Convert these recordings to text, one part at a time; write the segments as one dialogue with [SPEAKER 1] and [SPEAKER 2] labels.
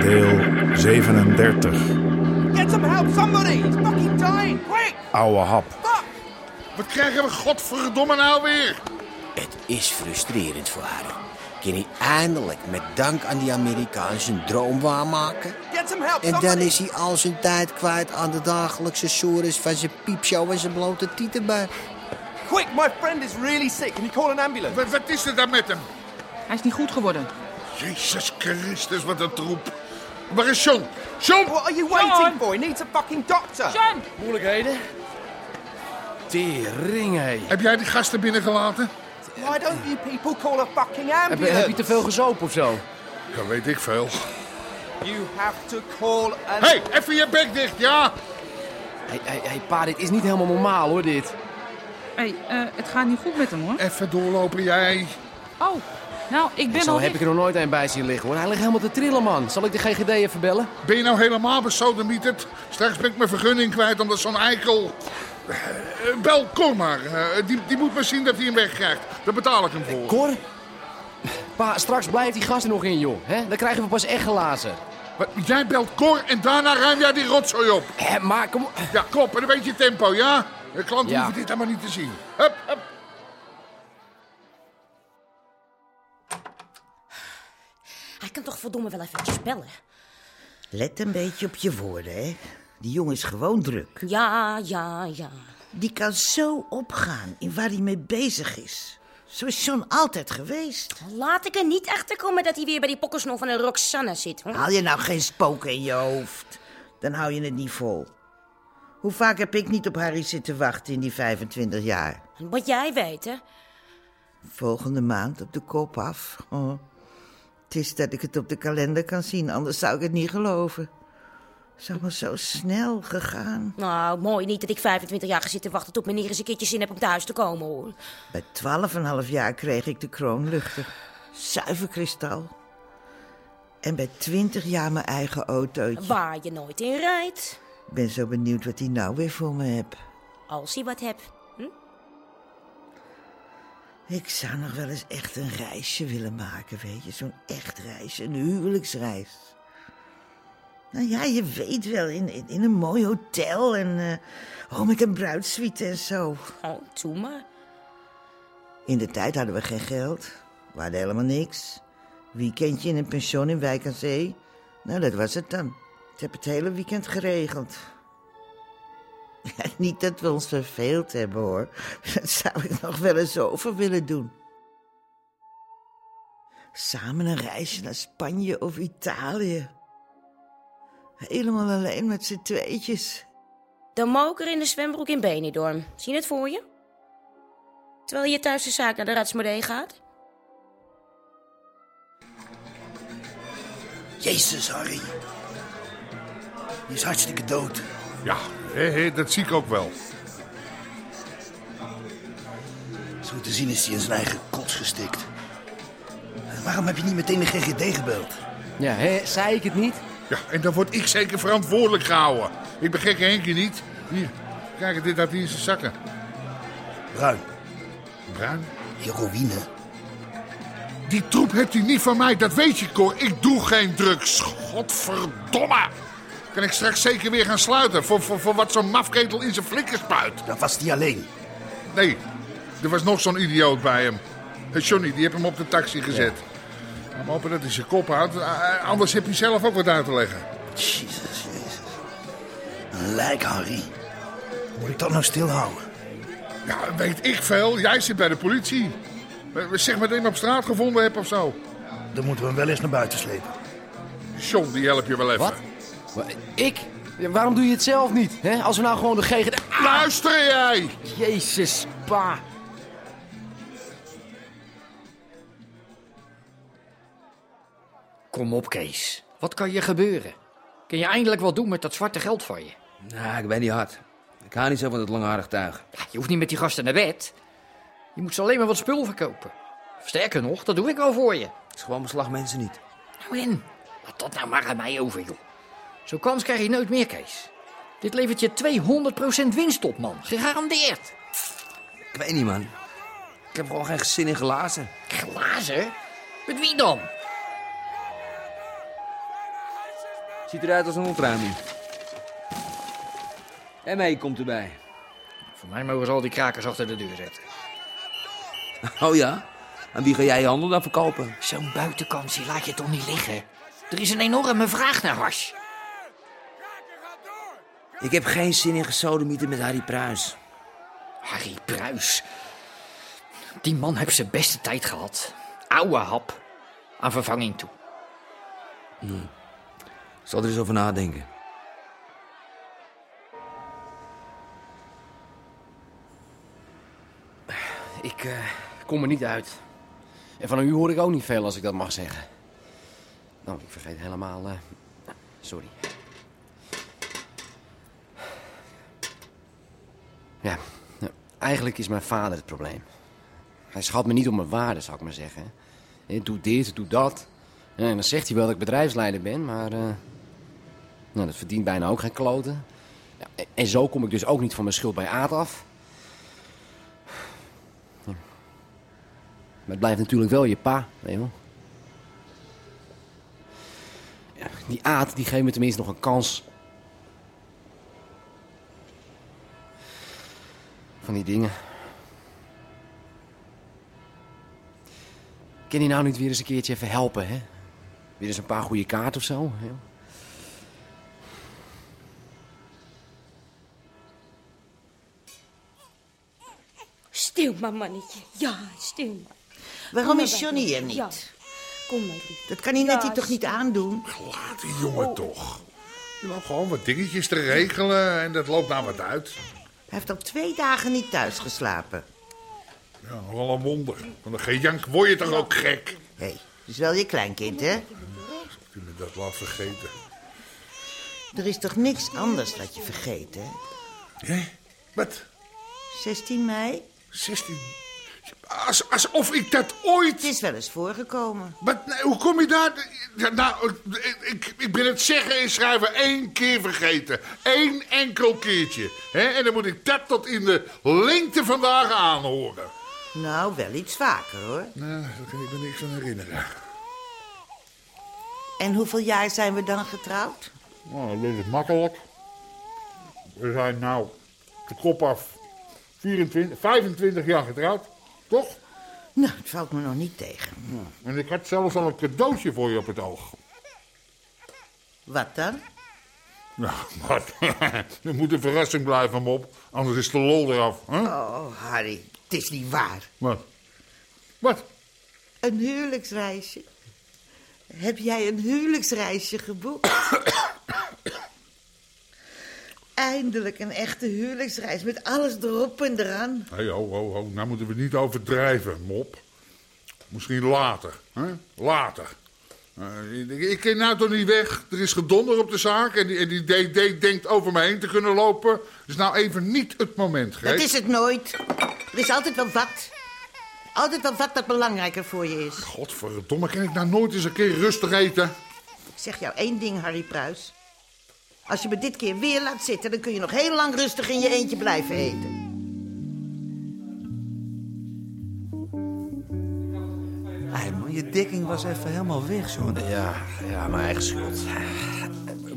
[SPEAKER 1] Deel 37.
[SPEAKER 2] Get some help, somebody! He's fucking dying! Quick!
[SPEAKER 1] Oude hap.
[SPEAKER 2] Fuck!
[SPEAKER 3] Wat krijgen we godverdomme nou weer?
[SPEAKER 4] Het is frustrerend voor haar. Kan hij eindelijk met dank aan die Amerikaan zijn droom waarmaken?
[SPEAKER 2] Get some help,
[SPEAKER 4] En dan
[SPEAKER 2] somebody!
[SPEAKER 4] is hij al zijn tijd kwijt aan de dagelijkse sores van zijn piepshow en zijn blote tietenbui.
[SPEAKER 2] Quick! My friend is really sick. Can you call an ambulance?
[SPEAKER 3] Wat, wat is er dan met hem?
[SPEAKER 5] Hij is niet goed geworden.
[SPEAKER 3] Jezus Christus, wat een troep. Waar is John? John!
[SPEAKER 2] What are you waiting for? He needs a fucking doctor!
[SPEAKER 5] John!
[SPEAKER 6] Moeilijkheden? Tering, hé.
[SPEAKER 3] Heb jij die gasten binnengelaten?
[SPEAKER 2] Why don't you people call a fucking
[SPEAKER 6] Heb, je- heb je
[SPEAKER 2] ambulance?
[SPEAKER 6] te veel gezopen of zo?
[SPEAKER 3] Dat weet ik veel.
[SPEAKER 2] You have to call an...
[SPEAKER 3] Hé, hey, even je bek dicht, ja?
[SPEAKER 6] Hé, hé, hé, pa, dit is niet helemaal normaal, hoor, dit.
[SPEAKER 5] Hé, eh, het gaat niet goed met hem hoor.
[SPEAKER 3] Even doorlopen jij.
[SPEAKER 5] Oh, nou, ik ben
[SPEAKER 6] Zo
[SPEAKER 5] al
[SPEAKER 6] heb ik
[SPEAKER 5] weg.
[SPEAKER 6] er nog nooit een bij zien liggen, hoor. Hij ligt helemaal te trillen, man. Zal ik de GGD even bellen?
[SPEAKER 3] Ben je nou helemaal besodemieterd? Straks ben ik mijn vergunning kwijt omdat zo'n eikel... Eh, Bel Cor maar. Eh, die, die moet maar zien dat hij hem wegkrijgt. Daar betaal ik hem voor.
[SPEAKER 6] Cor? Pa, straks blijft die gast er nog in, joh. hè? Dan krijgen we pas echt glazen.
[SPEAKER 3] Wat, Jij belt Cor en daarna ruim jij die rotzooi op.
[SPEAKER 6] Hé, maar kom op.
[SPEAKER 3] Ja, klopt. En een beetje tempo, ja? De klanten
[SPEAKER 6] Ja.
[SPEAKER 3] hoeven dit allemaal niet te zien. Hup, hup.
[SPEAKER 7] Hij kan toch verdomme wel eventjes bellen?
[SPEAKER 4] Let een beetje op je woorden, hè. Die jongen is gewoon druk.
[SPEAKER 7] Ja, ja, ja.
[SPEAKER 8] Die kan zo opgaan in waar hij mee bezig is. Zo is John altijd geweest.
[SPEAKER 7] Laat ik er niet achter komen dat hij weer bij die pokkersnor van een Roxanne zit. hoor.
[SPEAKER 8] Haal je nou geen spook in je hoofd. Dan hou je het niet vol. Hoe vaak heb ik niet op Harry zitten wachten in die 25 jaar?
[SPEAKER 7] Wat jij weet, hè?
[SPEAKER 8] Volgende maand op de kop af. Oh. Het is dat ik het op de kalender kan zien, anders zou ik het niet geloven. Het is allemaal zo snel gegaan.
[SPEAKER 7] Nou, mooi niet dat ik 25 jaar ga zitten wachten tot meneer eens een keertje zin heeft om thuis te komen, hoor.
[SPEAKER 8] Bij 12,5 jaar kreeg ik de kroonluchter. Zuiver kristal. En bij 20 jaar mijn eigen autootje.
[SPEAKER 7] Waar je nooit in rijdt,
[SPEAKER 8] Ik ben zo benieuwd wat hij nou weer voor me hebt.
[SPEAKER 7] als hij wat hebt.
[SPEAKER 8] Ik zou nog wel eens echt een reisje willen maken, weet je. Zo'n echt reisje, een huwelijksreis. Nou ja, je weet wel, in, in, in een mooi hotel en... eh, oh, met een bruidsuite en zo.
[SPEAKER 7] Oh, toe maar.
[SPEAKER 8] In de tijd hadden we geen geld. We hadden helemaal niks. Weekendje in een pension in Wijk aan Zee. Nou, dat was het dan. Ik heb het hele weekend geregeld. Ja, niet dat we ons verveeld hebben hoor. Dat zou ik nog wel eens over willen doen. Samen een reisje naar Spanje of Italië. Helemaal alleen met z'n tweetjes.
[SPEAKER 7] De moker in de zwembroek in Benidorm. Zie je het voor je? Terwijl je thuis de zaak naar de Ratsmodee gaat.
[SPEAKER 4] Jezus, Harry. Die is hartstikke dood.
[SPEAKER 3] Ja, hé, hé, Eh, dat zie ik ook wel.
[SPEAKER 4] Zo te zien is hij in zijn eigen kots gestikt. Waarom heb je niet meteen de GGD gebeld?
[SPEAKER 6] Ja, hè, zei ik het niet?
[SPEAKER 3] Ja, en dan word ik zeker verantwoordelijk gehouden. Ik ben gekke Henkje niet. Hier, kijk, dit had hij in zijn zakken.
[SPEAKER 4] Bruin,
[SPEAKER 3] Bruin.
[SPEAKER 4] die ruïne.
[SPEAKER 3] Die troep hebt u niet van mij, dat weet je, Cor. Ik doe geen drugs. Godverdomme. Kan ik straks zeker weer gaan sluiten voor, voor, voor wat zo'n mafketel in zijn flikker spuit?
[SPEAKER 4] Dat was die alleen.
[SPEAKER 3] Nee, er was nog zo'n idioot bij hem. Eh, Johnny, die heeft hem op de taxi gezet. Maar hopen dat hij zijn kop houdt, eh, anders heb je zelf ook wat uit te leggen.
[SPEAKER 4] Jezus, Jezus. Een lijk, Harry. Moet ik dat nou stilhouden?
[SPEAKER 3] Ja, weet ik veel. Jij zit bij de politie. Eh, Zeg maar dat je hem op straat gevonden hebt of zo.
[SPEAKER 4] Dan moeten we hem wel eens naar buiten slepen.
[SPEAKER 3] John, die help je wel even.
[SPEAKER 6] Wat? Maar, ik? Ja, waarom doe je het zelf niet? Hè? Als we nou gewoon de GGD...
[SPEAKER 3] Luister jij!
[SPEAKER 6] Jezus, pa.
[SPEAKER 9] Kom op, Kees. Wat kan je gebeuren? Kun je eindelijk wat doen met dat zwarte geld van je?
[SPEAKER 4] Nou, ik ben niet hard. Ik hou niet zo van dat langharig tuig.
[SPEAKER 9] Ja, Je hoeft niet met die gasten naar bed. Je moet ze alleen maar wat spul verkopen. Sterker nog, dat doe ik al voor je.
[SPEAKER 4] Het is gewoon beslag mensen niet.
[SPEAKER 9] Nou in, laat dat nou maar aan mij over, joh. Zo'n kans krijg je nooit meer, Kees. Dit levert je 200% winst op, man. Gegarandeerd.
[SPEAKER 4] Ik weet niet, man. Ik heb gewoon geen zin in glazen.
[SPEAKER 9] Glazen? Met wie dan?
[SPEAKER 4] Ziet eruit als een ontruiming. En mij komt erbij.
[SPEAKER 9] Voor mij mogen ze al die krakers achter de deur zetten.
[SPEAKER 4] Oh ja? Aan wie ga jij je handel dan verkopen?
[SPEAKER 9] Zo'n buitenkans, die laat je toch niet liggen? Er is een enorme vraag naar hash.
[SPEAKER 4] Ik heb geen zin in gesodemieten met Harry Pruis.
[SPEAKER 9] Harry Pruis. Die man heeft zijn beste tijd gehad. Ouwe hap. Aan vervanging toe.
[SPEAKER 4] Ik zal er eens over nadenken.
[SPEAKER 6] Ik eh, kom er niet uit. En van u hoor ik ook niet veel, als ik dat mag zeggen. Nou, ik vergeet helemaal... eh, sorry. Ja, nou, eigenlijk is mijn vader het probleem. Hij schat me niet op mijn waarde, zou ik maar zeggen. Hè, Doe dit, doe dat. Ja, en dan zegt hij wel dat ik bedrijfsleider ben, maar... eh, nou, dat verdient bijna ook geen kloten. Ja, en- en zo kom ik dus ook niet van mijn schuld bij Aad af. Maar het blijft natuurlijk wel je pa, weet je wel. Ja, die aat, die geeft me tenminste nog een kans. Van die dingen. Kan die nou niet weer eens een keertje even helpen, hè? Weer eens een paar goede kaarten of zo, hè?
[SPEAKER 7] Stil maar, mannetje. Ja, stil maar.
[SPEAKER 8] Waarom is
[SPEAKER 7] maar,
[SPEAKER 8] Johnny er niet?
[SPEAKER 7] Ja. Kom maar, lief.
[SPEAKER 8] Dat kan hij net
[SPEAKER 7] Ja,
[SPEAKER 8] hier toch niet aandoen?
[SPEAKER 3] Laat die jongen toch. Je loopt gewoon wat dingetjes te regelen en dat loopt nou wat uit.
[SPEAKER 8] Hij heeft al twee dagen niet thuis geslapen.
[SPEAKER 3] Ja, wel een wonder. Van een gejank word je toch ook gek?
[SPEAKER 8] Hé, hey, is wel je kleinkind, hè?
[SPEAKER 3] Als ik me dat laat vergeten.
[SPEAKER 8] Er is toch niks anders dat je vergeet, hè?
[SPEAKER 3] Hé? Wat?
[SPEAKER 8] 16 mei?
[SPEAKER 3] 16? Als, alsof ik dat
[SPEAKER 8] Het
[SPEAKER 3] ooit...
[SPEAKER 8] is wel eens voorgekomen.
[SPEAKER 3] Wat, nee, hoe kom je daar... Ja, nou, ik- ik, ik ben het zeggen en schrijven één keer vergeten. Eén enkel keertje. hè? en dan moet ik dat tot in de lengte vandaag aanhoren.
[SPEAKER 8] Nou, wel iets vaker, hoor.
[SPEAKER 3] Nou, daar kan ik me niks van herinneren.
[SPEAKER 8] En hoeveel jaar zijn we dan getrouwd?
[SPEAKER 3] Nou, dat is makkelijk. We zijn nou de kop af 24, 25 jaar getrouwd, toch?
[SPEAKER 8] Nou, het valt me nog niet tegen.
[SPEAKER 3] En ik had zelfs al een cadeautje voor je op het oog.
[SPEAKER 8] Wat dan?
[SPEAKER 3] Nou, wat? er moet een verrassing blijven, Mop. Anders is de lol eraf. Hè?
[SPEAKER 8] Oh, Harry, het is niet waar.
[SPEAKER 3] Wat? Wat?
[SPEAKER 8] Een huwelijksreisje. Heb jij een huwelijksreisje geboekt? Eindelijk een echte huwelijksreis met alles erop en eraan.
[SPEAKER 3] Hé, ho, ho, ho. Nou moeten we niet overdrijven, Mop. Misschien later, hè? Later. Eh, ik, ik ken nou toch niet weg. Er is gedonder op de zaak en die, en die DD denkt over me heen te kunnen lopen. Dat is nou even niet het moment, Greet.
[SPEAKER 8] Dat is het nooit. Er is altijd wel wat. Altijd wel wat dat belangrijker voor je is.
[SPEAKER 3] Godverdomme, kan ik nou nooit eens een keer rustig eten?
[SPEAKER 8] Ik zeg jou één ding, Harry Pruis. Als je me dit keer weer laat zitten, dan kun je nog heel lang rustig in je eentje blijven eten.
[SPEAKER 4] Hé man, je dekking was even helemaal weg, zo.
[SPEAKER 6] Ja, ja, mijn eigen schuld.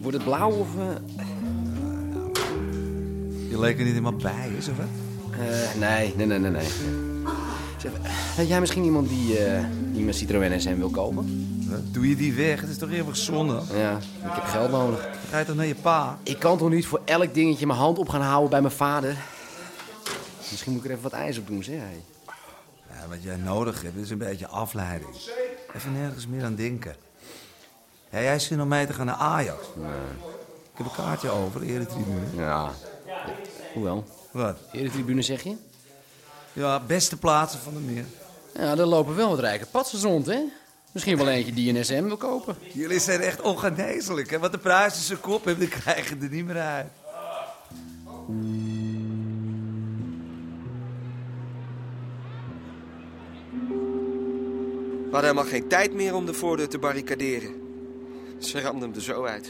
[SPEAKER 6] Wordt het blauw of... eh,
[SPEAKER 4] Je leek er niet helemaal bij, is of wat?
[SPEAKER 6] eh, nee, nee, nee, nee, nee. Zeg, eh, heb jij misschien iemand die, eh die mijn Citroën SM wil kopen?
[SPEAKER 4] Wat? Doe je die weg? Het is toch eeuwig zonde?
[SPEAKER 6] Ja, ik heb geld nodig.
[SPEAKER 4] Ga je toch naar je pa?
[SPEAKER 6] Ik kan toch niet voor elk dingetje mijn hand op gaan houden bij mijn vader? Misschien moet ik er even wat ijs op doen, zeg. Hey.
[SPEAKER 4] Ja, wat jij nodig hebt is een beetje afleiding. Even nergens meer aan denken. Heb jij zin om mee te gaan naar Ajax?
[SPEAKER 10] Ik heb een kaartje over, eretribune.
[SPEAKER 6] Ja. Hoewel.
[SPEAKER 10] Wat?
[SPEAKER 6] Eretribune zeg je?
[SPEAKER 10] Ja, beste plaatsen van de meer.
[SPEAKER 6] Ja, er lopen wel wat rijke patsers rond, hè? Misschien wel eentje die een SM wil kopen.
[SPEAKER 10] Jullie zijn echt ongeneeslijk, hè? Wat de prijzen ze kop hebben, die krijgen er niet meer uit.
[SPEAKER 11] We hadden helemaal geen tijd meer om de voordeur te barricaderen. Ze ramden hem er zo uit.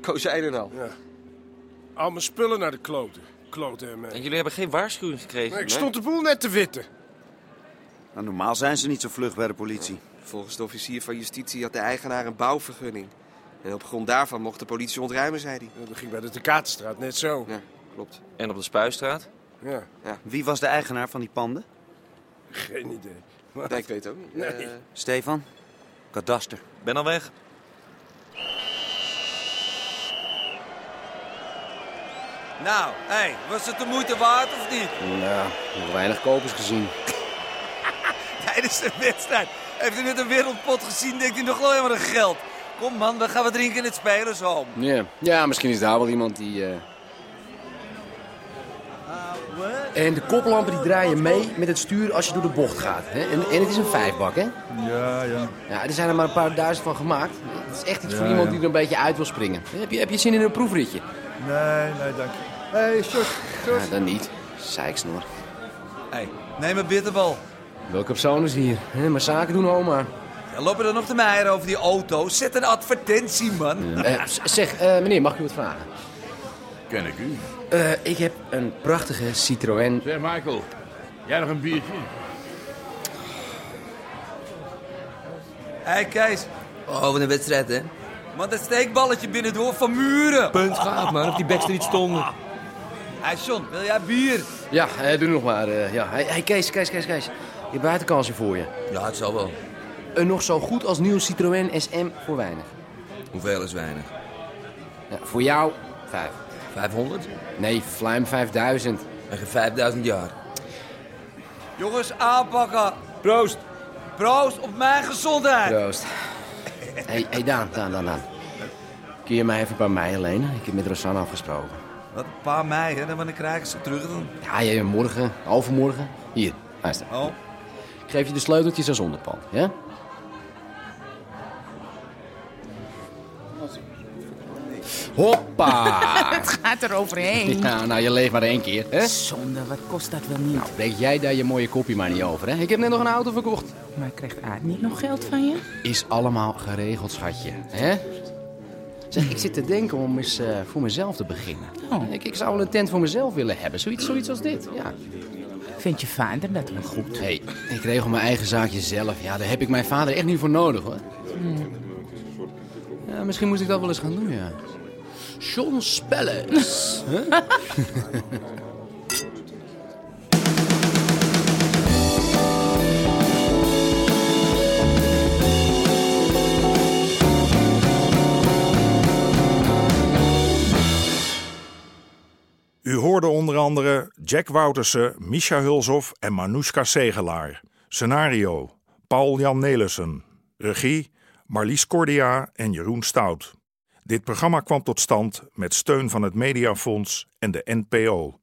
[SPEAKER 11] Ko zei er al.
[SPEAKER 12] Al mijn spullen naar de kloten. Kloten en
[SPEAKER 13] En jullie hebben geen waarschuwing gekregen?
[SPEAKER 12] Maar ik
[SPEAKER 13] nee?
[SPEAKER 12] stond de boel net te witten.
[SPEAKER 13] Nou, normaal zijn ze niet zo vlug bij de politie.
[SPEAKER 11] Volgens de officier van justitie had de eigenaar een bouwvergunning. En op grond daarvan mocht de politie ontruimen, zei hij.
[SPEAKER 12] Dat ging bij de Tekatenstraat net zo.
[SPEAKER 11] Ja, klopt.
[SPEAKER 13] En op de Spuistraat?
[SPEAKER 12] Ja.
[SPEAKER 13] Wie was de eigenaar van die panden?
[SPEAKER 12] Geen idee.
[SPEAKER 11] Nee, ik weet het ook niet.
[SPEAKER 12] Nee.
[SPEAKER 11] Eh,
[SPEAKER 13] Stefan, kadaster. Ben al weg.
[SPEAKER 10] Nou, hé, was het de moeite waard of niet?
[SPEAKER 6] Ja, nog weinig kopers gezien.
[SPEAKER 10] Tijdens de wedstrijd heeft hij net een wereldpot gezien, denkt hij nog wel helemaal aan geld. Kom man, dan gaan we drinken in het spelershome.
[SPEAKER 6] Ja, ja misschien is daar wel iemand die... eh, En de koplampen die draaien mee met het stuur als je door de bocht gaat. Hè? En, en het is een vijfbak, hè?
[SPEAKER 10] Ja, ja.
[SPEAKER 6] Ja, er zijn er maar een paar duizend van gemaakt. Het is echt iets
[SPEAKER 10] Ja,
[SPEAKER 6] voor iemand
[SPEAKER 10] ja.
[SPEAKER 6] die er een beetje uit wil springen. Heb je, heb je zin in een proefritje?
[SPEAKER 10] Nee, nee, dank je. Hé, hey, Sjors,
[SPEAKER 6] Ja, dan niet. Zeiksnor.
[SPEAKER 10] hey, neem een bitterbal.
[SPEAKER 6] Welke persoon is hier? Hè, maar zaken doen, oma.
[SPEAKER 10] Ja, lopen er nog te meieren over die auto? Zet een advertentie, man.
[SPEAKER 6] Eh, z- zeg, eh, meneer, mag ik u wat vragen?
[SPEAKER 14] Ken ik u.
[SPEAKER 6] Eh, ik heb een prachtige Citroën.
[SPEAKER 14] Zeg, Michael, jij nog een biertje?
[SPEAKER 10] Hé, hey, Kees. Oh, wat een wedstrijd, hè? Man, dat steekballetje binnendoor van muren. Punt gaat, man. Op die bek niet stonden. Hé, John, wil jij bier?
[SPEAKER 6] Ja, eh, doe nog maar. eh, ja. hey, hey, Kees, Kees, Kees, Kees. Je hebt buitenkansje voor je.
[SPEAKER 10] Ja, het zal wel.
[SPEAKER 6] Een nog zo goed als nieuw Citroën SM voor weinig.
[SPEAKER 10] Hoeveel is weinig?
[SPEAKER 6] Ja, voor jou, vijf.
[SPEAKER 10] 500?
[SPEAKER 6] Nee, Fluim 5000.
[SPEAKER 10] En 5000 jaar. Jongens, aanpakken. Proost. Proost op mijn gezondheid.
[SPEAKER 6] Proost. hey, hey, Daan, Daan, Daan, Daan. Kun je mij even bij mij lenen? Ik heb met Rosanne afgesproken.
[SPEAKER 10] Wat een paar mei, hè? Dan wanneer krijgen ze terug dan?
[SPEAKER 6] Ja, jij eh, morgen, overmorgen. Hier, luister.
[SPEAKER 10] Oh.
[SPEAKER 6] Ik geef je de sleuteltjes als onderpand, ja? Hoppa!
[SPEAKER 5] het gaat er overheen.
[SPEAKER 6] Ja, nou, je leeft maar één keer, hè?
[SPEAKER 5] Zonde, wat kost dat wel niet?
[SPEAKER 6] Nou, breek jij daar je mooie kopje maar niet over, hè? Ik heb net nog een auto verkocht.
[SPEAKER 5] Nou, Maar krijgt Aad niet nog geld van je?
[SPEAKER 6] Is allemaal geregeld, schatje, hè? Zeg, ik zit te denken om eens eh, voor mezelf te beginnen. Ik, ik zou wel een tent voor mezelf willen hebben, zoiets, zoiets als dit, ja.
[SPEAKER 5] Vind je vader dat wel goed?
[SPEAKER 6] Hé, ik regel mijn eigen zaakje zelf. Ja, daar heb ik mijn vader echt niet voor nodig, hoor. Ja, misschien moest ik dat wel eens gaan doen, ja. John Spellers. Huh?
[SPEAKER 1] U hoorde onder andere Jack Woutersen, Misha Hulshoff en Manoushka Segelaar. Scenario: Paul-Jan Nelissen. Regie: Marlies Cordia en Jeroen Stout. Dit programma kwam tot stand met steun van het Mediafonds en de NPO.